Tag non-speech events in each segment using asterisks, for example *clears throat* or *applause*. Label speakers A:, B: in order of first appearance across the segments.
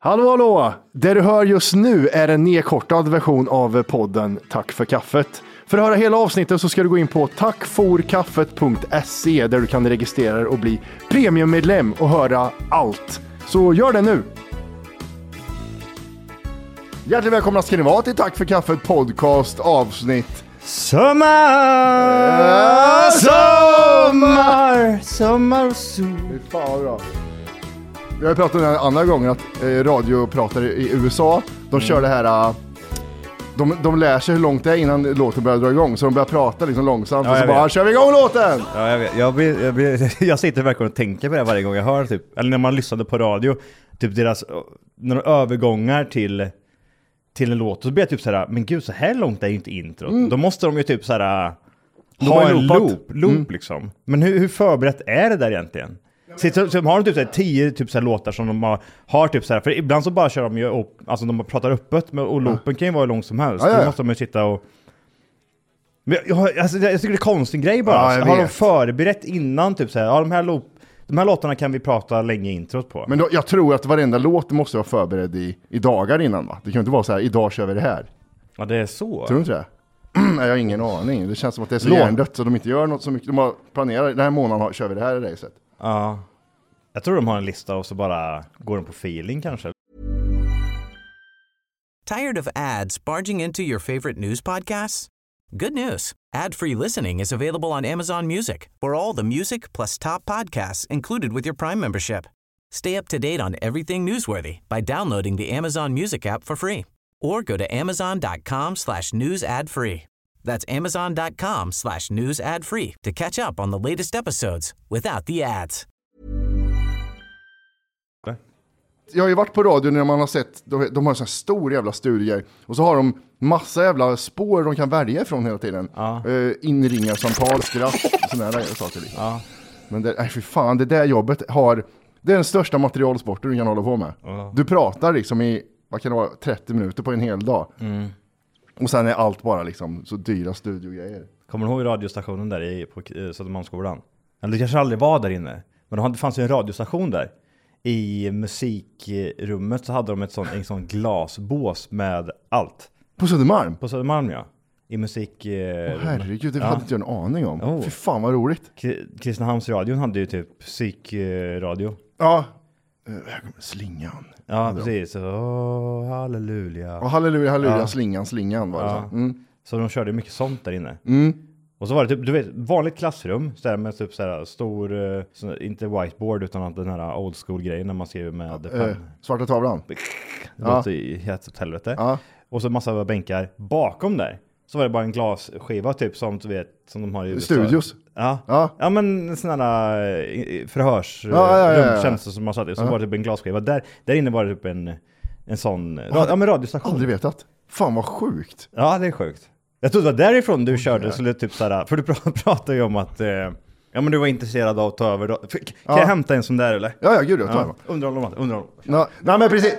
A: Hallå hallå! Det du hör just nu är en nedkortad version av podden Tack för kaffet. För att höra hela avsnittet så ska du gå in på tackforkaffet.se där du kan registrera dig och bli premiummedlem och höra allt. Så gör det nu! Hjärtligt välkomna ska ni vara till Tack för kaffet podcast avsnitt.
B: Sommar, sommar, sommar och sol.
A: Fy fan då. Vi har ju pratat om det här andra gången att eh, radiopratare i USA, de
B: Mm.
A: kör det här eh, de, de lär sig hur långt det är innan låten börjar dra igång, så de börjar prata liksom långsamt
B: Ja,
A: och så
B: jag
A: bara
B: vet.
A: kör vi igång låten!
B: Ja, jag, vet. jag, blir, jag, blir, *laughs* jag sitter verkligen och tänker på det här varje gång jag hör typ, eller när man lyssnade på radio, typ deras, när de övergångar till, till en låt, så blir jag typ såhär, men gud så här långt är ju inte introt. Då måste de ju typ såhär, ha
A: Mm. har ju
B: en
A: loopat. Mm.
B: loop, loop liksom. Men hur, hur förberett är det där egentligen? Sitter, så har de typ såhär, tio typ såhär låtar som de har, har typ såhär, för ibland så bara kör de ju upp, alltså de pratar öppet, men- och loopen kan ju vara hur lång som helst.
A: Ja, ja, ja.
B: Då måste de ju sitta och men jag, jag, alltså, jag tycker det är en konstig grej bara.
A: Ja, jag
B: alltså, har de
A: vet.
B: förberett innan typ så här, ja, de, här lo- de här låtarna kan vi prata länge introt på.
A: Men då, jag tror att varenda låt måste vara förberedd i, i dagar innan va? Det kan ju inte vara så här, idag kör vi det här.
B: ja, det är så.
A: Tror du inte det? *clears throat* Nej, jag har ingen aning. Det känns som att det är så
B: Låt.
A: hjärndött så de inte gör något så mycket. De har planerat, den här månaden har, kör vi det här racet.
B: Ja. Jag tror de har en lista och så bara går de på feeling kanske.
C: Tired of ads barging into your favorite news podcasts? Good news. Ad-free listening is available on Amazon Music. For all the music plus top podcasts included with your Prime membership. Stay up to date on everything newsworthy by downloading the Amazon Music app for free or go to amazoncom slash news ad free. That's amazoncom slash news ad free to catch up on the latest episodes without the ads.
A: jag har ju varit på radio när man har sett, de, de har en sån här stor jävla studier och så har de massa jävla spår de kan välja ifrån hela tiden.
B: Ja.
A: Eh, inringarsamtal, skratt, sådana där saker. Liksom. Men det, nej, för fan, det där jobbet har, det är den största materialsporten du kan hålla på med. Du pratar liksom i, vad kan det vara, 30 minuter på en hel dag.
B: Mm.
A: Och sen är allt bara liksom så dyra studiogrejer.
B: Kommer du ihåg radiostationen där i, på eh, Södermalmsskolan? Eller det kanske aldrig var där inne. Men de hade- det fanns ju en radiostation där. I musikrummet så hade de ett sånt, en sån glasbås med allt.
A: På Södermalm?
B: På Södermalm ja. I musik... eh,
A: Herregud, det
B: Ja.
A: hade inte jag en aning om.
B: Oh.
A: Fy fan vad roligt.
B: Kri- Kristinehamnsradion hade ju typ psykradio.
A: Ja. Eh, här kommer Slingan.
B: Ja, precis. Åh, halleluja.
A: Ja, halleluja, halleluja,
B: Ja.
A: slingan, slingan var det
B: Ja.
A: så. Mm.
B: Så de körde mycket sånt där inne. Och så var det typ, du vet, vanligt klassrum. Så där med typ så här stor, eh, sån- inte whiteboard utan att den här old school grejen när man skriver med
A: Eh,
B: penna.
A: svarta tavlan.
B: Det låter ju helt åt helvete.
A: Ja.
B: Och så massa bänkar bakom där. Så var det bara en glasskiva typ som du vet, som de har i USA.
A: Studios.
B: Ja.
A: Ja.
B: ja. men sådana här eh, förhörsrum
A: Ja, ja, ja, ja.
B: känns det som man satt i. Så var det typ en glasskiva. Där, där inne var det typ en, en sån rad, ja, men radiostation.
A: Aldrig vetat. Fan vad sjukt.
B: Ja, det är sjukt. Jag trodde det var därifrån du körde, så det är typ såhär, för du pra- *laughs* pratade ju om att eh, ja, men du var intresserad av att ta över. Då. F- Kan jag hämta en sån där eller?
A: Ja, ja, gud jag tar
B: Ja.
A: ja.
B: Undrar om de undrar om.
A: Nå, nej men precis.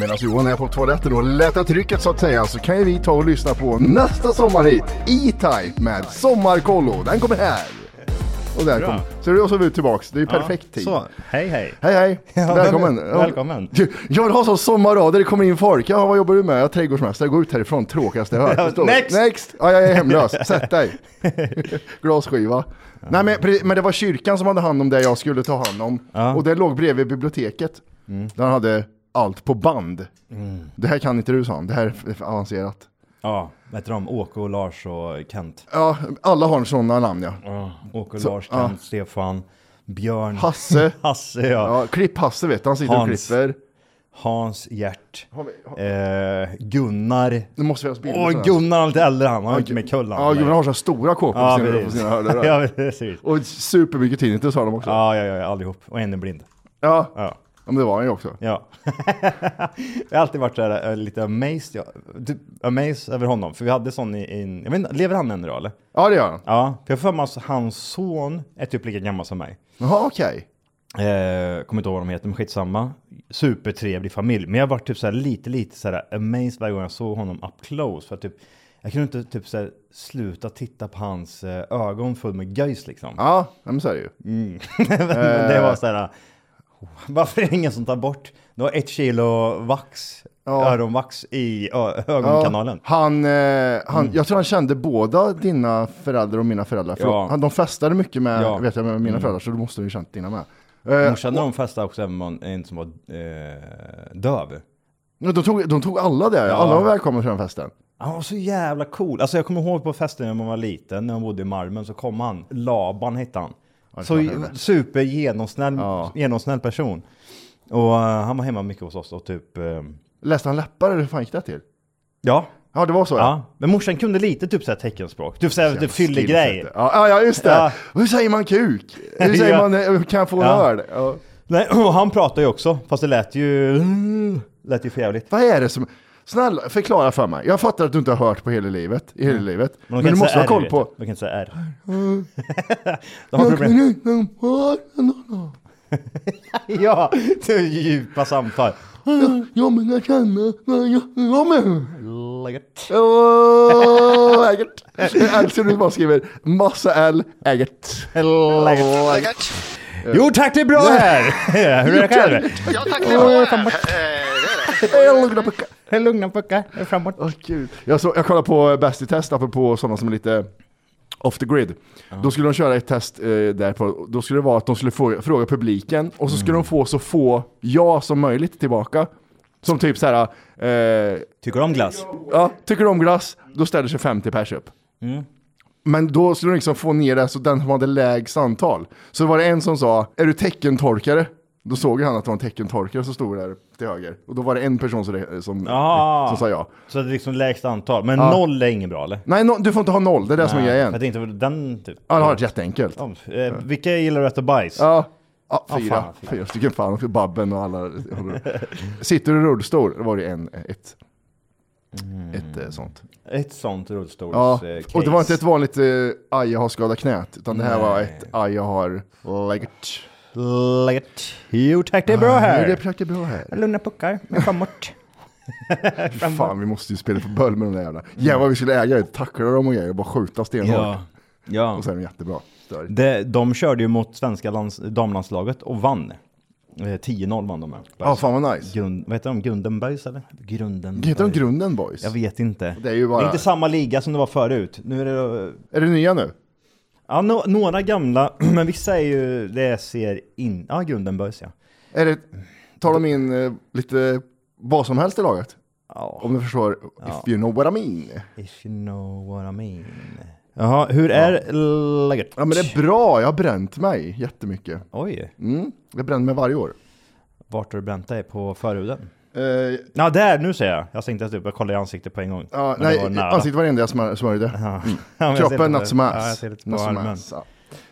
A: Medan Johan är på toaletten och lättar trycket så att säga så kan ju vi ta och lyssna på nästa sommarhit, E-Type med Sommarkollo. Den kommer här. Och där
B: Bra.
A: kom. Så då så är vi tillbaks, det är ju
B: Ja,
A: perfekt tid.
B: Så, hej hej.
A: Hej hej,
B: *laughs* Ja,
A: välkommen.
B: vem- välkommen.
A: Ja, Jag vill ha sån sommarradio, det kommer in folk. Ja, vad jobbar du med? Jag är trädgårdsmästare, gå ut härifrån, tråkigaste jag hört.
B: Ja,
A: Det står-
B: next!
A: Next! Ja, jag är hemlös,
B: *laughs*
A: sätt dig. Glasskiva. Nej men, pre- men det var kyrkan som hade hand om det jag skulle ta hand om. Och det låg bredvid biblioteket.
B: Mm.
A: Där han hade allt på band. Det här kan inte du sa han, det här är för avancerat.
B: Ja, vad heter de? Åke och Lars och Kent.
A: Ja, alla har sådana namn ja.
B: Ja. Åke och Lars, Kent, Stefan, Björn,
A: Hasse.
B: *laughs* Hasse ja.
A: Ja, Klipp-Hasse vet du, han sitter och
B: Hans.
A: klipper.
B: Hans, Gert,
A: Har vi- har-
B: eh, Gunnar.
A: Det måste finnas bilder.
B: Åh,
A: sådär.
B: Gunnar har lite äldre han, han har inte med kullan.
A: Ja, Gunnar har så här stora kåpor
B: Ja,
A: på sina- på
B: precis.
A: sina
B: *laughs*
A: hörlurar.
B: ja, precis.
A: Och supermycket tinnitus har de också. Ja.
B: Ja, ja, ja, allihop. Och en är blind.
A: ja.
B: Ja.
A: men det var han ju också.
B: Ja. *laughs* jag har alltid varit så här, eh, lite amazed, ja, typ amazed över honom. För vi hade sån i, i jag vet inte, lever han än idag eller?
A: Ja, det gör han.
B: Ja, för jag har för mig att hans son är typ lika gammal som mig.
A: Jaha, okej.
B: Eh, kommer inte ihåg vad de heter, men skitsamma. Supertrevlig familj. Men jag var typ så här lite, lite så här amazed varje gång jag såg honom up close. För att typ, jag kunde inte typ så här sluta titta på hans eh, ögon full med göjs liksom. *laughs*
A: Ja, nej, men så är det ju.
B: det var så här, Varför är det ingen som tar bort? Du har ett kilo vax,
A: Ja.
B: öronvax i ö-
A: Ja,
B: ögonkanalen.
A: Han, eh, han,
B: Mm.
A: Jag tror han kände båda dina föräldrar och mina föräldrar. För
B: Ja.
A: han, de festade mycket med,
B: Ja. Mm.
A: vet jag, med mina föräldrar, så du måste ju ha känt dina med. Eh,
B: Morsan när hon festade också även med en som var eh, döv.
A: men de, tog, de tog alla det, ja. alla var välkomna till den festen.
B: Han var så jävla cool. Alltså jag kommer ihåg på festen när man var liten, när man bodde i Malmen, så kom han. Laban hette han. Så super genomsnäll, genomsnäll person. Och eh, han var hemma mycket hos oss och typ... eh,
A: Läste han läppar eller hur fan gick det till?
B: ja.
A: Ja, det var så ja.
B: Ja. Men morsan kunde lite typ såhär teckenspråk. Typ såhär typ fyllig grej.
A: Ja, ja, ja, just det.
B: Ja.
A: Hur säger man kuk? Hur säger
B: *laughs* Ja.
A: man, eh, kan jag få en
B: Ja.
A: öl? Ja.
B: Nej, *clears throat* och han pratade ju också. Fast det lät ju... *clears throat* Lät ju förjävligt.
A: Vad är det som... Snälla, förklara för mig. Jag fattar att du inte har hört på hela livet, i hela livet.
B: de kan
A: Men du
B: inte
A: måste
B: säga
A: ha
B: R,
A: koll
B: vet
A: på...
B: du. De kan inte säga
A: *laughs*
B: R. De har problem. *laughs* Ja, det är djupa samtal.
A: Ja men jag känner, ja men.
B: Läget.
A: Åh, ägert. Jag älskar hur du bara skriver massa L, ägert.
B: Läget. Jo tack, det är bra här! *laughs* Hur är det själv?
D: Ja tack, det är bra. Eh, det är det.
A: Elgna pucka.
B: Hej, Lugna puckar, jag är framåt.
A: Åh, gud. Jag, så, jag kollade på Bäst i test, apropå sådana som är lite off the grid. Då skulle de köra ett test eh, där på, då skulle det vara att de skulle få, fråga publiken och så skulle de få så få ja som möjligt tillbaka. Som typ så här, eh,
B: Tycker du om glass?
A: ja, tycker du om glass? Då ställer sig 50 pers upp. Men då skulle de liksom få ner det så den som hade lägst antal. Så var det en som sa, är du teckentorkare? Då såg han att det var en teckentorkare som stod där till höger. Och då var det en person som, som,
B: Ah.
A: som sa ja.
B: Så det är liksom lägsta antal. Men noll är inget bra eller?
A: Nej, no, du får inte ha noll, det är det som är
B: Jag
A: grejen.
B: tänkte väl den typ.
A: Ja, det har varit jätteenkelt.
B: Ja, eh, vilka gillar du att äta bajs?
A: Ja. Ja, fyra.
B: fan, fyra.
A: fyra stycken fan, också Babben och alla. Sitter du i rullstol? Då var det en, ett, ett eh, sånt.
B: Ett sånt rullstols
A: Ja,
B: Mm. eh, case.
A: och det var inte ett vanligt eh, aj jag har skadat knät, utan det här var ett aj jag har läggt.
B: Läget. Jo tack, det är bra
A: Nu är det
B: här.
A: praktiskt bra här.
B: Lugna puckar, jag är framåt.
A: Fan, vi måste ju spela på böl med de där jävla. Jävlar vi skulle äga det, tackla dem och grejer och bara skjuta stenhårt.
B: *laughs* Mm. Ja. ja.
A: Och så är de jättebra. Stör.
B: De, de körde ju mot svenska lands, damlandslaget och vann. Eh, 10-0 vann de med.
A: Ja, fan vad nice.
B: Grund, vad heter de? Grundenbergs eller? Grundenbergs.
A: Heter de Grunden Boys?
B: Jag vet inte.
A: Det är ju bara-
B: inte samma liga som det var förut. Nu är det...
A: Är det nya nu?
B: Ja, no, några gamla, *clears throat* men vissa är ju... Det ser in... Ja, Grundenbergs ja.
A: Är det, tar de in eh, lite vad som helst i laget?
B: Ja,
A: Om du förstår, if you know what I mean.
B: if you know what I mean. Jaha, hur är läget?
A: Ja men det är bra, jag har bränt mig jättemycket.
B: Oj,
A: Mm, jag bränner mig varje år.
B: vart har du bränt dig? På förhuden?
A: Eh,
B: Ja, där! Nu ser jag! Jag tänkte typ, jag kollade i ansiktet på en gång.
A: ja,
B: Men det
A: nej,
B: var nära.
A: ansiktet var det enda jag smör- smörjde. Mm.
B: Ja. *laughs* Ja, men jag ser
A: Kroppen,
B: lite-
A: not so much.
B: Ja, jag ser lite på
A: Not so
B: armen.
A: much,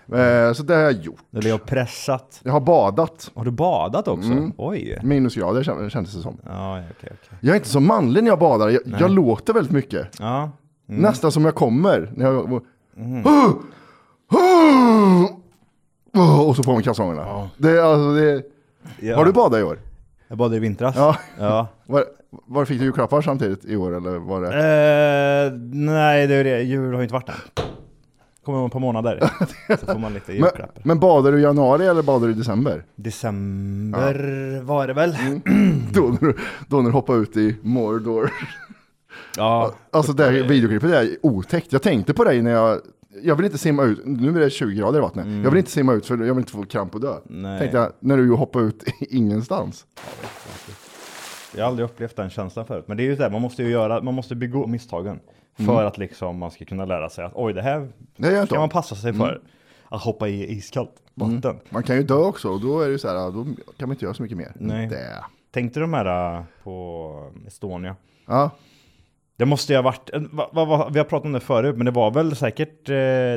A: ja. eh, så det har jag gjort.
B: Du ligger och pressat.
A: Jag har badat,
B: Har du badat också?
A: Mm.
B: Oj!
A: minusgrader kän- kändes det som.
B: Ja, okej, okej.
A: Jag är inte så manlig när jag badar, jag, jag låter väldigt mycket.
B: Ja.
A: Nästan Mm. som jag kommer. När jag,
B: Mm.
A: *gasps* Huh! Huh! Huh! Oh, och så på mig kalsongerna. Det, är alltså, det, är-
B: ja.
A: Har du badat i år?
B: Jag badade i vintras.
A: Ja.
B: ja.
A: Var, var fick du julklappar samtidigt i år eller var det?
B: Eh, nej, det är det. Jul har ju inte varit än. Kommer om ett par
A: *laughs*
B: månader. Så får man lite
A: Men,
B: julklappar.
A: men badar du i januari eller badar du i december? *clears throat*
B: December var det väl?
A: Mm. Då, när du- då när du hoppar ut i Mordor. *laughs*
B: Ja.
A: Alltså det här videoklippet är otäckt. Jag tänkte på dig när jag, jag vill inte simma ut, nu är det 20 grader i vattnet. Jag vill inte simma ut för jag vill inte få kramp och dö.
B: Mm. Nej.
A: Tänkte jag, när du hoppar ut *laughs* ingenstans.
B: Jag har aldrig upplevt den känslan förut. Men det är ju det, man måste ju göra, man måste begå misstagen. För att liksom man ska kunna lära sig att oj, det här
A: Det gör jag inte
B: ska man
A: om.
B: passa sig för. Att hoppa i iskallt vatten.
A: Man kan ju dö också och då är det ju så här, då kan man inte göra så mycket mer.
B: Nej.
A: Det.
B: Tänkte de här äh, på Estonia?
A: Ja.
B: Det måste ju ha varit, eh, va, va, va, vi har pratat om det förut, men det var väl säkert, eh,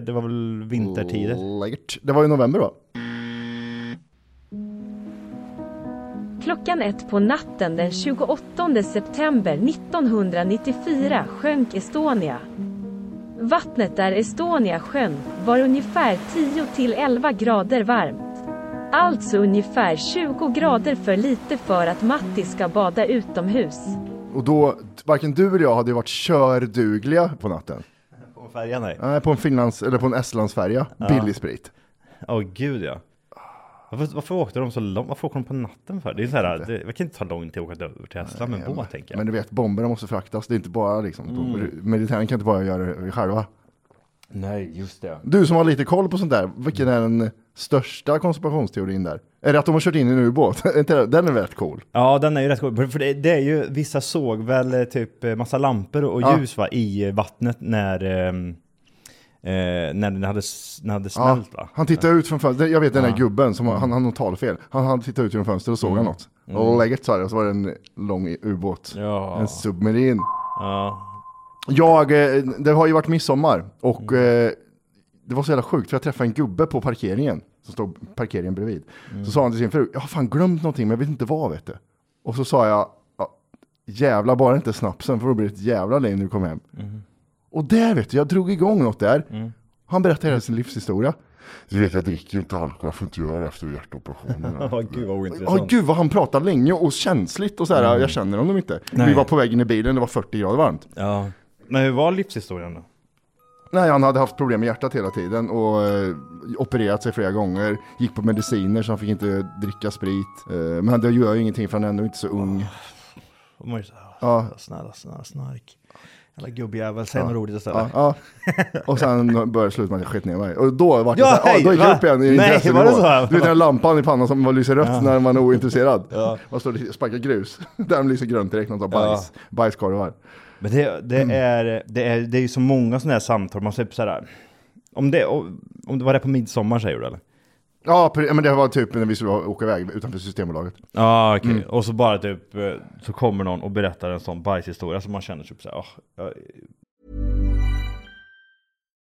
B: det var väl vintertider?
A: Läckert. Det var ju november va?
E: Klockan ett på natten den 28 september 1994 sjönk Estonia. Vattnet där Estonia sjönk var ungefär 10 till 11 grader varmt. Alltså ungefär 20 grader för lite för att Matti ska bada utomhus.
A: Och då, varken du eller jag hade ju varit kördugliga på natten.
B: På färjan nej.
A: Nej, på en Finlands, eller på en Estlandsfärja. Billig sprit.
B: Åh gud ja. Varför, varför åkte de så långt? Varför åker de på natten för? Det är så här, det, det kan inte ta lång tid att åka över till Estland med båt tänker jag.
A: Men
B: Mm.
A: du vet, bomberna måste fraktas. Det är inte bara liksom, de- militären kan inte bara göra det själva.
B: Nej, just det.
A: Du som har lite koll på sånt där, vilken är den största konspirationsteorin där? Är det att de har kört in i en ubåt? *laughs* Är inte det- den är rätt cool.
B: Ja, den är ju rätt cool. För- För det, det är ju, vissa såg väl eh, typ eh, massa lampor och
A: Ja.
B: ljus va, i eh, vattnet när, ehm, eh, när den hade, s- när den hade
A: Ja,
B: smält va? Mm.
A: han tittar ut från fönstret, jag vet den där gubben som har- han han har talfel. Han, han tittar ut genom fönstret och såg han något. Och läget sa det, och så var det en lång ubåt.
B: Ja.
A: En submarin.
B: Ja.
A: Jag, eh, det har ju varit midsommar och eh, det var så jävla sjukt för jag träffade en gubbe på parkeringen som stod parkeringen bredvid. Så sa han till sin fru, jag har fan glömt någonting men jag vet inte vad vet du. Och så sa jag, "Ja, jävla bara inte snapsen för då blir det ett jävla liv när du kommer hem. Och där vet du, jag drog igång något där. Han berättade hela sin livshistoria.
F: Du vet, jag dricker ju inte alkohol. Jag får inte göra det efter hjärtoperationen.
B: Åh, gud vad ointressant.
A: Ja, gud vad han pratade länge och känsligt och så här, jag känner honom inte. Vi
B: Nej.
A: var på väg in i bilen, det var 40 grader varmt.
B: Ja. Men hur var livshistorien då?
A: Nej, han hade haft problem med hjärtat hela tiden och eh, opererat sig flera gånger. Gick på mediciner så han fick inte dricka sprit. Eh, men det gör ju ingenting för han är ändå inte så ung.
B: Och man är ju så här,
A: Ja.
B: snälla, snälla, snark. Jävla gubbjävel, säg något roligt istället.
A: Ja,
B: *laughs*
A: ja. Och sen började sluta med att jag sket ner mig. Och då var det
B: Ja,
A: så här, ja, då gick jag
B: hej,
A: upp igen i
B: va?
A: intressenivå.
B: Nej, var det så här?
A: Du vet den här lampan i pannan som lyser rött när man är ointresserad. Man står och sparkar grus. *laughs* Där lyser grönt direkt när man tar bajs. Bajskorvar.
B: Men det, det,
A: Mm.
B: är, det, är, det är ju så många sådana här samtal, man säger så här. Om det, om det var det på midsommar säger du eller?
A: Ja, pre- men det var typ när vi skulle åka iväg utanför Systembolaget.
B: Ja, okej.
A: Mm.
B: Och så bara typ, eh, så kommer någon och berättar en sån bajshistoria som man känner typ såhär,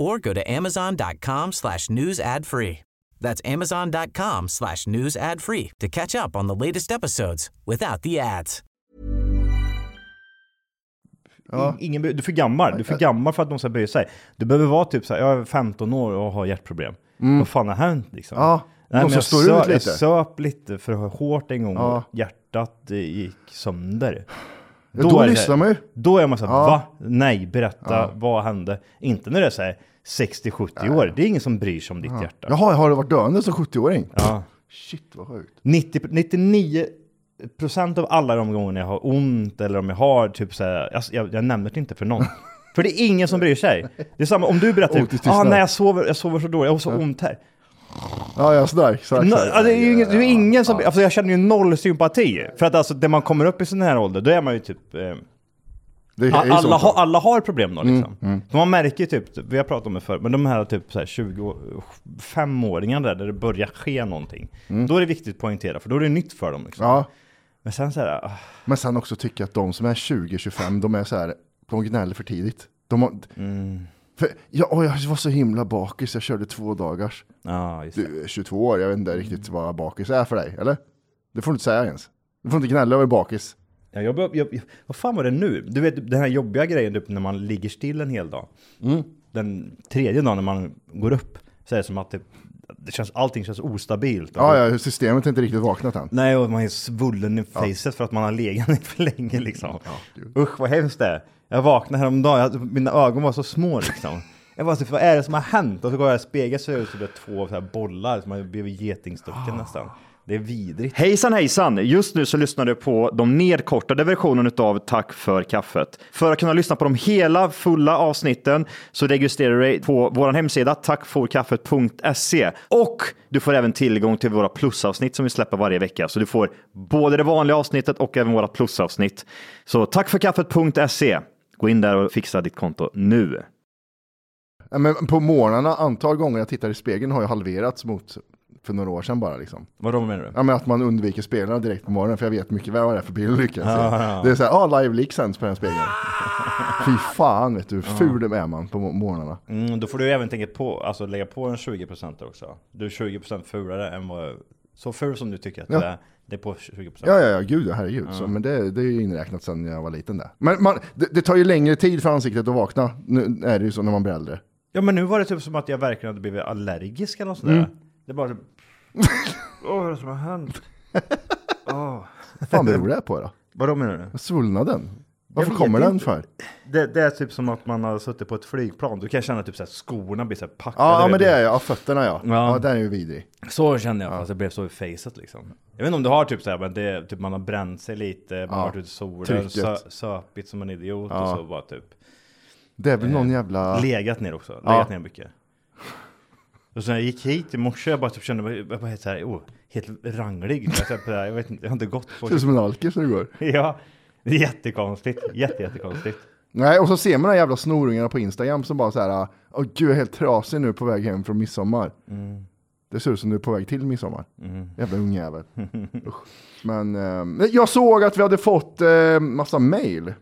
C: or go to amazoncom slash news ad free. That's amazoncom slash news ad free to catch up on the latest episodes without the ads.
A: Ja.
B: ingen, du är för gammal, du är för gammal för att de ska bry sig. Du behöver vara typ såhär, jag är 15 år och har hjärtproblem. Vad fan har hänt liksom?
A: Mm. Ja, de
B: men
A: som
B: jag
A: står
B: söp-
A: ut lite.
B: Jag söp lite för hårt en gång
A: Ja.
B: och hjärtat eh, gick sönder.
A: Då,
B: är det-
A: lyssnar man ju.
B: Då är man såhär, va? Nej, berätta, vad hände? Inte när det är såhär 60-70 år, det är ingen som bryr sig om ditt hjärta.
A: Jaha, har du varit döende som 70-åring? Shit vad sjukt.
B: 90, 99 procent av alla de gånger jag har ont eller om jag har typ såhär, jag, jag, jag nämner det inte för
A: *laughs*
B: någon. För det är ingen som bryr sig. Det är samma om du berättar,
A: Ont i tystnad.
B: ah, nej jag sover, jag sover så dåligt, jag har så ont här.
A: Ja, jag är sådär. exakt.
B: No, alltså, det är ju ingen, det är ju ingen som, alltså, jag känner ju noll sympati. För att alltså, när man kommer upp i sån här ålder, då är man ju typ... Eh,
A: Det är ju Mm,
B: alla,
A: sånt.
B: har- alla har problem då liksom. För Man märker ju typ, vi har pratat om det förr, men de här typ så här 25-åringarna där, där det börjar ske någonting. Då är det viktigt att poängtera, för då är det nytt för dem liksom.
A: Mm. Ja,
B: Men sen så här, ah,
A: men sen också tycka att de som är 20-25, de är så här, de gnäller för tidigt. De har...
B: Mm.
A: För, ja, åh, jag var så himla bakis, jag körde två dagars.
B: ja just det.
A: Du är 22 år, jag vet inte riktigt vad bakis är för dig, eller? Det får du inte säga ens. Du får inte gnälla över bakis.
B: Ja, jag, behöv- jag, jag, vad fan var det nu? Du vet den här jobbiga grejen typ, när man ligger still en hel dag.
A: Mm.
B: Den tredje dagen när man går upp så är det som att det, det känns, allting känns ostabilt.
A: Ja, ja, systemet är inte riktigt vaknat än.
B: Nej, och man är svullen i facet för att man har legat *laughs* ner för länge liksom. Usch, vad hemskt det är. Jag vaknade häromdagen, jag, mina ögon var så små liksom. Jag bara typ, vad är det som har hänt? Och så går jag i spegeln så är det typ två så här bollar som har blivit
A: Ah.
B: getingstucken nästan. Det är vidrigt.
G: Hejsan hejsan! Just nu så lyssnar du på de nedkortade versionen utav Tack för kaffet. För att kunna lyssna på de hela fulla avsnitten så registrerar du dig på vår hemsida tackforkaffet.se E. och du får även tillgång till våra plusavsnitt som vi släpper varje vecka. Så du får både det vanliga avsnittet och även våra plusavsnitt. Så tackforkaffet.se. E. Gå in där och fixa ditt konto nu.
A: Ja, Men på morgnarna, antal gånger jag tittar i spegeln har jag halverats mot för några år sedan bara liksom.
B: Vadå menar du?
A: Ja, men att man undviker spelarna direkt på morgonen för jag vet mycket väl vad det är för bilolycka.
B: Ja, ja.
A: Det är så här, ah, live leak sänds på den här
B: *laughs*
A: spegeln. Fy fan vet du, hur ful är man på mo- morgnarna.
B: Mm, då får du ju även tänka på, alltså lägga på en 20% också. Du är 20% fulare än vad... Så ful som du tycker att
A: Ja.
B: du är, det är på 20%.
A: Ja, ja, ja, gud ja, herregud. Så, men det, det är ju inräknat sedan jag var liten där. Men man, det, det tar ju längre tid för ansiktet att vakna. Nu är det ju så när man blir äldre.
B: Ja men nu var det typ som att jag verkligen hade blivit allergisk eller något sånt där. Det *laughs* bara typ... Åh vad är det som har hänt? Åh.
A: Vad fan beror det på då?
B: Vadå menar du?
A: Svullnaden? Varför
B: vet
A: kommer den
B: inte.
A: för?
B: Det, det är typ som att man har suttit på ett flygplan. Du kan känna typ såhär skorna blir såhär packade.
A: Ja, ja men det är jag. Ja, fötterna ja.
B: Ja.
A: Ja, den är ju vidrig.
B: Så kände jag, fast det blev så i facet liksom. Jag vet inte om du har typ såhär, men det är typ man har bränt sig lite, man har varit ute i solen,
A: trycket.
B: sö, söpigt som en idiot och så bara typ.
A: Det är väl någon jävla...
B: Legat ner också, legat ner mycket. Och sen när jag gick hit i morse, jag bara typ kände mig jag bara helt såhär, oh, helt ranglig. Jag, typ, jag, vet inte, jag har inte gått på
A: Ser ut som en alkis när du går.
B: *laughs* Ja, det är jättekonstigt. Jätte, jättekonstigt.
A: Nej, och så ser man de här jävla snorungarna på Instagram som bara så här, åh gud jag är helt trasig nu på väg hem från midsommar. Det ser ut som du är på väg till midsommar. Jävla ungjävel. Usch. Men eh, jag såg att vi hade fått eh, massa mail.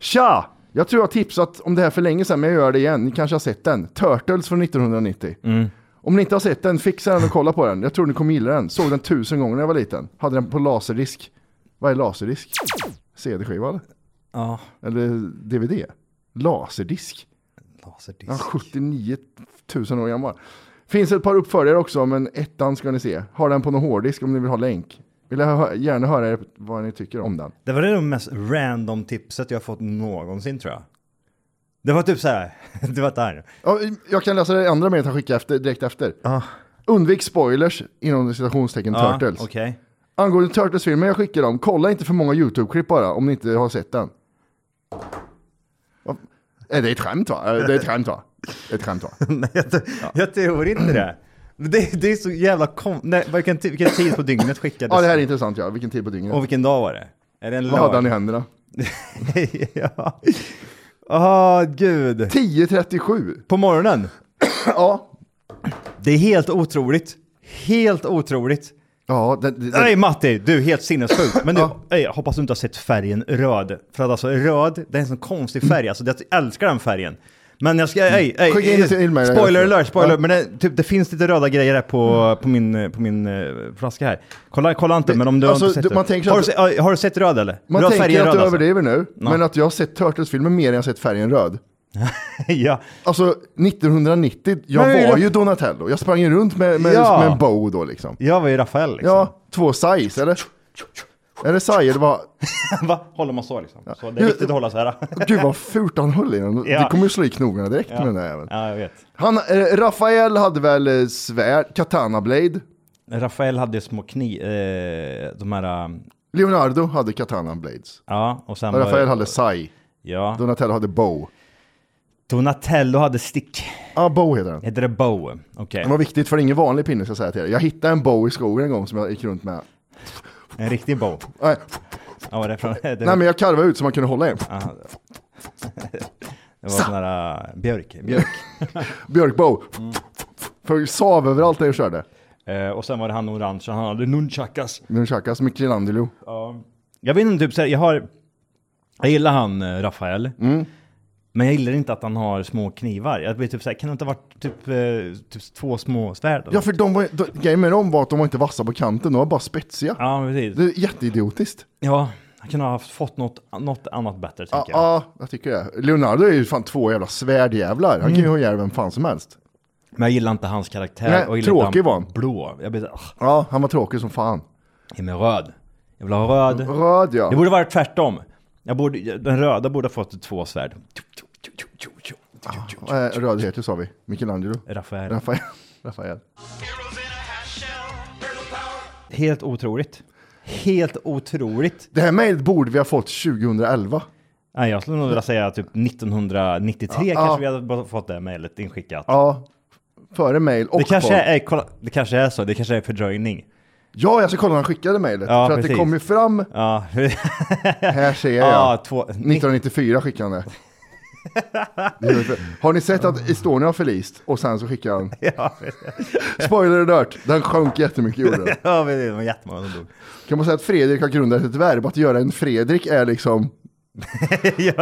A: Tja! Jag tror jag har tipsat om det här för länge sedan, men jag gör det igen. Ni kanske har sett den. Turtles från 1990. Om ni inte har sett den, fixa den och kolla på den. Jag tror ni kommer gilla den. Såg den tusen gånger när jag var liten. Hade den på laserdisk. Vad är laserdisk? CD-skiva eller?
B: Ja.
A: Eller DVD? Laserdisk?
B: Laserdisk.
A: Ja, 79 000 år gammal. Finns ett par uppföljare också, men ettan ska ni se. Har den på någon hårddisk om ni vill ha länk. Vill jag hö- gärna höra er- vad ni tycker om den.
B: Det var det mest random tipset jag fått någonsin tror jag. Det var typ så här. *laughs* det var där.
A: Ja, jag kan läsa det andra mejlet han skickade efter, direkt efter.
B: Ah.
A: Undvik spoilers inom citationstecken Turtles.
B: Ja, Ah, Okej.
A: Angående Turtles-filmen jag skickar om, kolla inte för många YouTube-klipp bara om ni inte har sett den. Vad- Är det ett skämt va? Är Det är ett skämt va? Det är ett
B: *laughs*
A: skämt va?
B: Nej, jag, t- jag tror inte det. Men Det, det är så jävla kom... Nej, vilken, ti- vilken tid på dygnet skickades
A: Ja det här är intressant ja, vilken tid på dygnet.
B: Och vilken dag var det? Är det en
A: Vad hade han i
B: lördag?
A: händerna?
B: *laughs* ja. Åh, gud.
A: 10.37!
B: På morgonen?
A: Ja.
B: Det är helt otroligt. Helt otroligt.
A: Ja, det, det,
B: Nej
A: det,
B: Matti, du är helt sinnessjuk. Men du, ej, jag hoppas du inte har sett färgen röd. För att alltså röd, det är en sån konstig färg. Alltså jag älskar den färgen. Men jag ska, ej, ej,
A: Skicka in det till mig.
B: spoiler alert, spoiler
A: Ja.
B: Men det, typ, det finns lite röda grejer här på, på min, eh, på min eh, flaska här. Kolla, kolla inte,
A: Det-
B: men om du
A: alltså,
B: har inte
A: du-
B: sett
A: man
B: det.
A: tänker
B: har, du,
A: att-
B: se- oj, har du sett röd eller?
A: man
B: röd
A: tänker
B: färgen
A: att du
B: alltså.
A: överdriver nu, men att jag har sett Turtles-filmen mer än jag har sett färgen röd.
B: *laughs* ja.
A: Alltså 1990, jag
B: Men-
A: var ju Donatello. Jag sprang ju runt med, med,
B: Ja.
A: med en bow då liksom.
B: Jag var ju Rafael liksom.
A: Ja, två size eller? Är det size? Det var...
B: *laughs* Va? Håller man så liksom? Så det är viktigt att hålla så här. *laughs*
A: Gud vad fult han höll i den.
B: Ja.
A: Det kommer ju slå i knogarna direkt med den där jäveln.
B: ja, jag vet.
A: Han, eh, Rafael hade väl eh, svärd, katana blade.
B: Rafael hade ju små kniv... Eh, de här... eh,
A: Leonardo hade katana blades.
B: Ja, och sen...
A: Och
B: var-
A: Rafael hade sai.
B: Ja.
A: Donatello hade bow.
B: Donatello hade stick.
A: Ja, bow heter den.
B: Heter det bow? Okej.
A: Den var viktigt för det är ingen vanlig pinne ska jag säga till er. Jag hittade en bow i skogen en gång som jag gick runt med.
B: En riktig bow.
A: Nej,
B: Ja, var det från... Det
A: nej men jag karvade ut så man kunde hålla i.
B: det var sån där... eh, björk. björk.
A: Björkbow. För sav överallt där jag körde.
B: Eh, och sen var det han orange, han hade nunchakas.
A: Nunchakas, Michelangelo.
B: Jag vet inte, typ såhär, jag har... Jag gillar han eh, Rafael.
A: Mm.
B: Men jag gillar inte att han har små knivar. Jag blir typ såhär, kan det inte ha varit typ, eh, typ två små svärd?
A: Ja för de var, de, grejen med dem var att de var inte vassa på kanten, de var bara spetsiga.
B: ja, precis.
A: Det är jätteidiotiskt.
B: Ja, han kunde ha haft- fått något, något annat bättre,
A: Ja,
B: tänker jag.
A: ja, jag tycker det. Leonardo är ju fan två jävla svärdjävlar. Han kan ju
B: Mm.
A: ha ihjäl vem fan som helst.
B: Men jag gillar inte hans karaktär.
A: Nej,
B: och jag gillar inte
A: tråkig var han.
B: Blå. Jag blir såhär, ah,
A: Ja, han var tråkig som fan.
B: ge mig röd. Jag vill ha röd.
A: Mm, Röd ja.
B: Det borde vara tvärtom. Jag borde, den röda borde ha fått två svärd.
A: Eh, Röd heter ju, sa vi. Michelangelo.
B: Rafael.
A: Ah. Rafael. Rafael.
B: Helt otroligt. Helt otroligt.
A: Det här mejlet borde vi ha fått 2011.
B: Nej, jag skulle nog vilja säga typ 1993
A: Ah,
B: kanske vi hade bara fått det här mejlet inskickat.
A: Ja, före mejl och
B: det, kanske
A: podd.
B: är, kolla, det kanske är så, det kanske är fördröjning.
A: Ja, jag ska kolla när han skickade mejlet.
B: Ja,
A: för att det
B: precis.
A: kom ju fram,
B: Ja. *laughs*
A: här ser jag.
B: Ja, Ah, två- *laughs*
A: 1994 skickade han det. Det är ju- Har ni sett att Estonia har förlist och sen så skickade han?
B: *laughs* ja,
A: Spoiler alert, den sjönk jättemycket i jorden.
B: ja, men det var jättemånga som dog.
A: Kan man säga att Fredrik har grundat ett verb? Att göra en Fredrik är
B: *laughs*
A: liksom...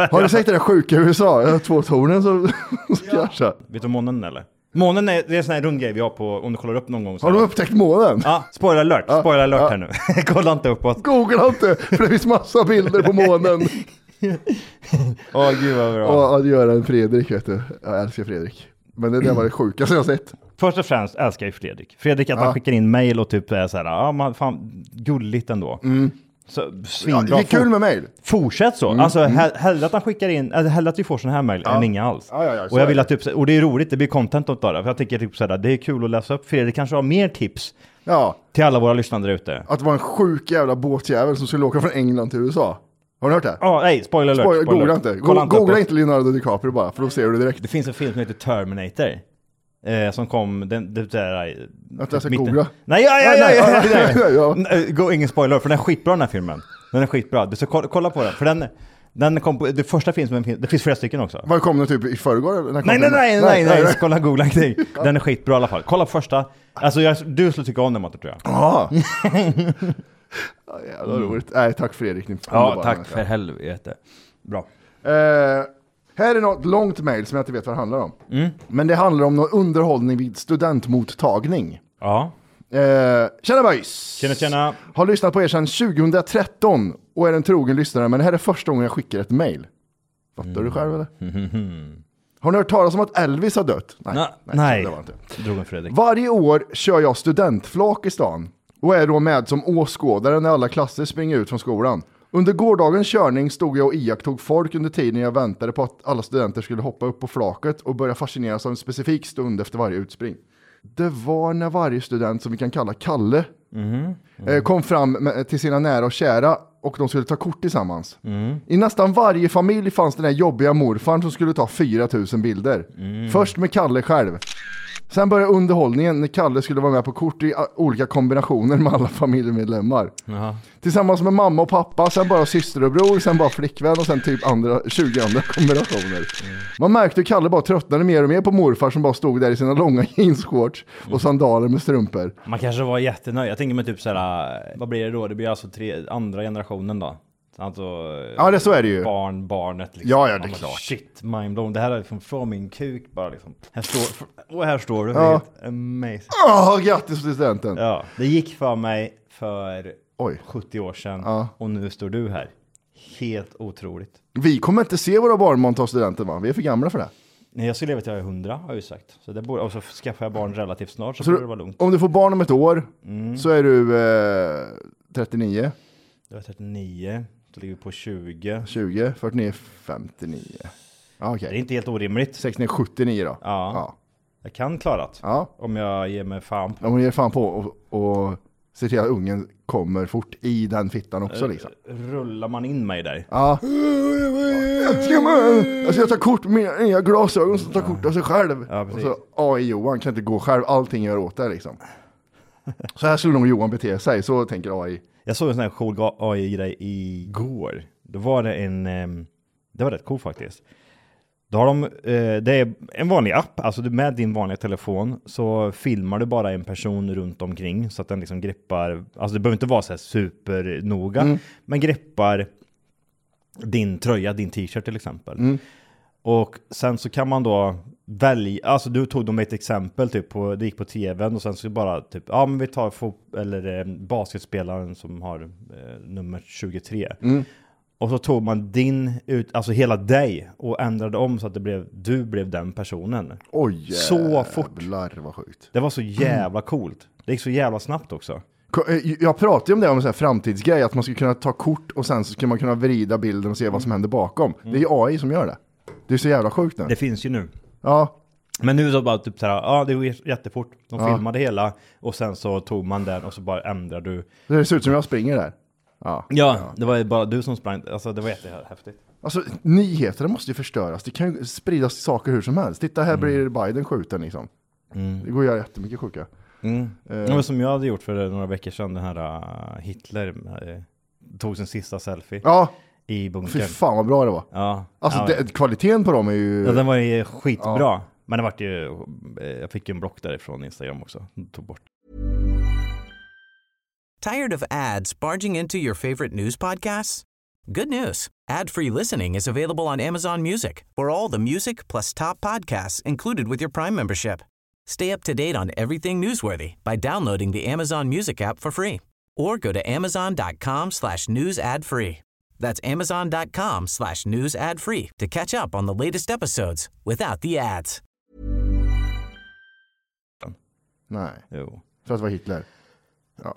A: Har du sett det där sjuka i USA? Jag har två tornen som som kraschar.
B: Vet du om månen eller? Månen är, det är en sån här rund grej vi har på, om du kollar upp någon gång. så-
A: Har de upptäckt månen?
B: Ja, spoiler alert, spoiler alert här nu. *laughs* Kolla inte uppåt.
A: Googla inte, för det finns massa bilder på månen.
B: Åh gud vad bra.
A: Och att göra en Fredrik, vet du. Jag älskar Fredrik. Men det där
B: *clears throat*
A: var det sjukaste jag sett.
B: Först och främst älskar jag ju Fredrik. Fredrik att han skickar in mejl och typ är så här, ja man, fan, gulligt ändå. Så,
A: Mm. Ja,
B: svinbra.
A: det är kul med mejl.
B: Fortsätt så. Alltså hell- hellre att han skickar in, eller hellre att vi får sådana här mejl än inga alls.
A: Ja, ja, ja, så
B: och jag
A: är
B: vill
A: det.
B: att typ, och det är roligt, det blir content åt det. För jag tycker typ sådär, det är kul att läsa upp. Fredrik kanske har mer tips
A: Ja,
B: till alla våra lyssnare där ute.
A: att det var en sjuk jävla båtjävel som skulle åka från England till USA. Har ni hört det?
B: Ja, nej, spoiler alert.
A: Spoiler,
B: spoiler
A: googla
B: alert.
A: inte.
B: Kolla
A: Go- Googla
B: uppåt.
A: inte Leonardo DiCaprio bara, för då ser du det direkt.
B: Det finns en film som heter Terminator. Eh, som kom, den, den där...
A: Vänta, jag ska googla.
B: eh, Nej, ja, ja,
A: Nej,
B: ja,
A: nej,
B: ja,
A: ja, ja, ja.
B: ja, Nej, eh, Gå, ingen spoiler, för den är skitbra den här filmen. Den är skitbra. Du ska kolla, kolla på den, för den, den kom på, det första finns med en det finns flera stycken också.
A: Var kom den typ i förrgår? eller när kom
B: Nej, nej,
A: den?
B: nej, nej, nej, kolla googla kring. Den är skitbra i alla fall. Kolla på första, alltså jag, du skulle tycka om den Matte tror jag.
A: Jaha. *laughs* Ja, jävla roligt. Nej, tack Fredrik. Ni är
B: Ja,
A: underbara
B: tack
A: människa.
B: för helvete. Bra.
A: Eh, här är något långt mejl som jag inte vet vad det handlar om.
B: Mm.
A: Men det handlar om någon underhållning vid studentmottagning.
B: Ja,
A: Eh, tjena boys!
B: Tjena, tjena.
A: Har lyssnat på er sedan 2013 och är en trogen lyssnare, men det här är första gången jag skickar ett mejl. Fattar du själv eller? Har ni hört talas om att Elvis har dött? Nej,
B: Na-
A: så
B: nej.
A: det var inte.
B: drog en Fredrik.
A: Varje år kör jag studentflak i stan och är då med som åskådare när alla klasser springer ut från skolan. Under gårdagens körning stod jag och iakttog folk under tiden jag väntade på att alla studenter skulle hoppa upp på flaket och börja fascineras av en specifik stund efter varje utspring. Det var när varje student, som vi kan kalla Kalle, eh, kom fram med, till sina nära och kära och de skulle ta kort tillsammans. I nästan varje familj fanns den här jobbiga morfarn som skulle ta 4000 bilder. Först med Kalle själv. Sen började underhållningen när Kalle skulle vara med på kort i a- olika kombinationer med alla *laughs* familjemedlemmar. Tillsammans med mamma och pappa, sen bara syster och bror, sen bara flickvän och sen typ andra, *laughs* 20 andra kombinationer. Man märkte hur Kalle bara tröttnade mer och mer på morfar som bara stod där i sina långa *laughs* jeansshorts och sandaler med strumpor.
B: Man kanske var jättenöjd. Jag tänker mig typ såhär, vad blir det då? Det blir alltså tre, andra generationen då? Alltså,
A: Ja, det så är det ju.
B: barn, barnet liksom.
A: Ja, ja, det är
B: men
A: klart.
B: Shit, mindblown. Det här är liksom från min kuk bara liksom. Här står, och här står du.
A: Ja.
B: Helt Amazing.
A: Åh, grattis till studenten!
B: Ja, det gick för mig för
A: Oj.
B: 70 år sedan
A: Ja.
B: och nu står du här. Helt otroligt.
A: Vi kommer inte se våra barnbarn ta studenten va? Vi är för gamla för det.
B: Nej, jag skulle leva till jag är 100 har jag ju sagt. Så det borde, och så skaffar jag barn relativt snart så,
A: Så
B: borde det
A: du,
B: vara lugnt.
A: om du får barn om ett år så är du eh, 39,
B: Jag är 39, då ligger vi på 20.
A: 20, 49, 59. Ja, okej.
B: Det är inte helt orimligt.
A: 69, 79 då.
B: Ja.
A: Ja.
B: Jag kan klara det.
A: ja.
B: Om jag ger mig fan på
A: ja hon ger fan på och, och ser till att ungen kommer fort i den fittan också
B: Eh.
A: liksom.
B: Rullar man in mig där?
A: Ja. Ska man- Jag ska ta kort med mina nya glasögon som tar kort av sig själv.
B: Ja,
A: och
B: precis.
A: så AI-Johan kan inte gå själv, allting gör åt det liksom. Så här skulle nog Johan bete sig, så tänker AI.
B: Jag såg en sån här cool ga- AI-grej igår. Då var det en... ehm, Det var rätt cool faktiskt. Då har de, eh, det är en vanlig app, alltså du med din vanliga telefon så filmar du bara en person runt omkring så att den liksom greppar, alltså det behöver inte vara så här supernoga,
A: Mm.
B: men greppar din tröja, din t-shirt till exempel.
A: Mm.
B: Och sen så kan man då välja, alltså du tog dem ett exempel typ på, det gick på tvn och sen så bara typ, ja men vi tar fot- eller eh, basketspelaren som har eh, nummer 23. Och så tog man din, ut, alltså hela dig och ändrade om så att det blev, du blev den personen.
A: Oj
B: Så fort.
A: jävlar vad sjukt.
B: Det var så jävla coolt. Det gick så jävla snabbt också.
A: Ko- eh, Jag pratade ju om det om en sån här framtidsgrej, att man skulle kunna ta kort och sen så skulle man kunna vrida bilden och se vad som händer bakom. Det är ju AI som gör det. Det är så jävla sjukt nu.
B: Det finns ju nu.
A: Ja,
B: Men nu så bara typ så här, ja det går jättefort. De filmade hela och sen så tog man den och så bara ändrade du.
A: det ser ut som jag springer där. Ja.
B: Ja, det var ju bara du som sprang. Alltså det var jättehäftigt.
A: Alltså nyheterna måste ju förstöras, det kan
B: Mm.
A: ju spridas saker hur som helst. Titta här blir Biden skjuten liksom. Det går att göra jättemycket sjuka.
B: Mm.
A: Eh,
B: Ja, men som jag hade gjort för några veckor sedan, den här äh, Hitler äh, tog sin sista selfie
A: Ja.
B: i
A: Fy
B: bunkern.
A: fan vad bra det var.
B: Ja.
A: Alltså
B: ja,
A: det, kvaliteten på dem är ju...
B: ja, den var ju skitbra.
A: Ja.
B: Men det vart ju, eh, jag fick en block därifrån Instagram också. Tog bort.
C: Tired of ads barging into your favorite news podcasts? Good news. Ad-free listening is available on Amazon Music for all the music plus top podcasts included with your Prime membership. Stay up to date on everything newsworthy by downloading the Amazon Music app for free or go to amazon.com slash news ad free. That's amazon.com slash news ad free to catch up on the latest episodes without the ads.
A: Nej,
B: Jo.
A: för att det var Hitler.
B: *clears throat*
A: Ja.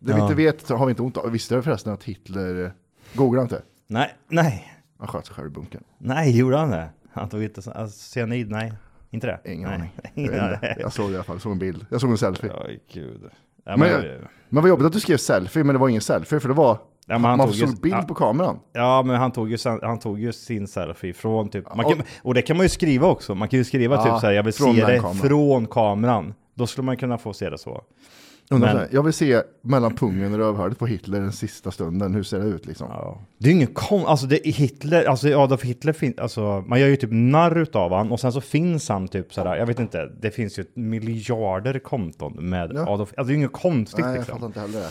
A: Det vi inte vet så har vi inte ont av. Visste du förresten att Hitler... Googla inte.
B: Nej, nej,
A: Han sköt sig själv i bunkern.
B: nej, gjorde han det? Han tog inte så- alltså, cyanid, nej. Inte det?
A: Ingen
B: *laughs* nej.
A: aning. Jag,
B: Ingen
A: vet inte.
B: aning.
A: jag såg det i alla fall, jag såg en bild. Jag såg en selfie.
B: Oj, gud. Ja, men,
A: Men, men vad jobbigt att du skrev selfie, men det var ingen selfie, för det var...
B: men han
A: man
B: tog
A: såg
B: ju-
A: bild
B: ja.
A: på kameran.
B: Ja, men han tog ju, sen- han tog ju sin selfie från typ... Man kan, och det kan man ju skriva också. Man kan ju skriva
A: Ja,
B: typ så här, jag vill
A: från
B: se
A: den
B: det
A: kameran.
B: från kameran. Då skulle man kunna få se det så.
A: Undrar
B: Men-
A: så här, Jag vill se mellan pungen och rövhålet på Hitler den sista stunden, hur ser det ut liksom?
B: Det är ju ingen kon... Alltså det är Hitler, alltså Adolf Hitler finns... Alltså man gör ju typ narr utav han och sen så finns han typ så här, jag vet inte. Det finns ju ett miljarder konton med
A: Ja.
B: Adolf... Alltså det är ju inget konstigt
A: Nej, jag
B: liksom.
A: fattar inte heller det.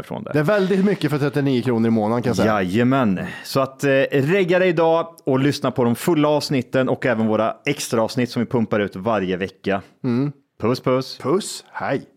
G: ifrån det.
A: Det är väldigt mycket för 39 kronor i månaden kan jag säga.
G: Jajamän, så att eh, regga dig idag och lyssna på de fulla avsnitten
A: Mm.
G: och även våra extra avsnitt som vi pumpar ut varje vecka. Puss puss!
A: Puss, hej.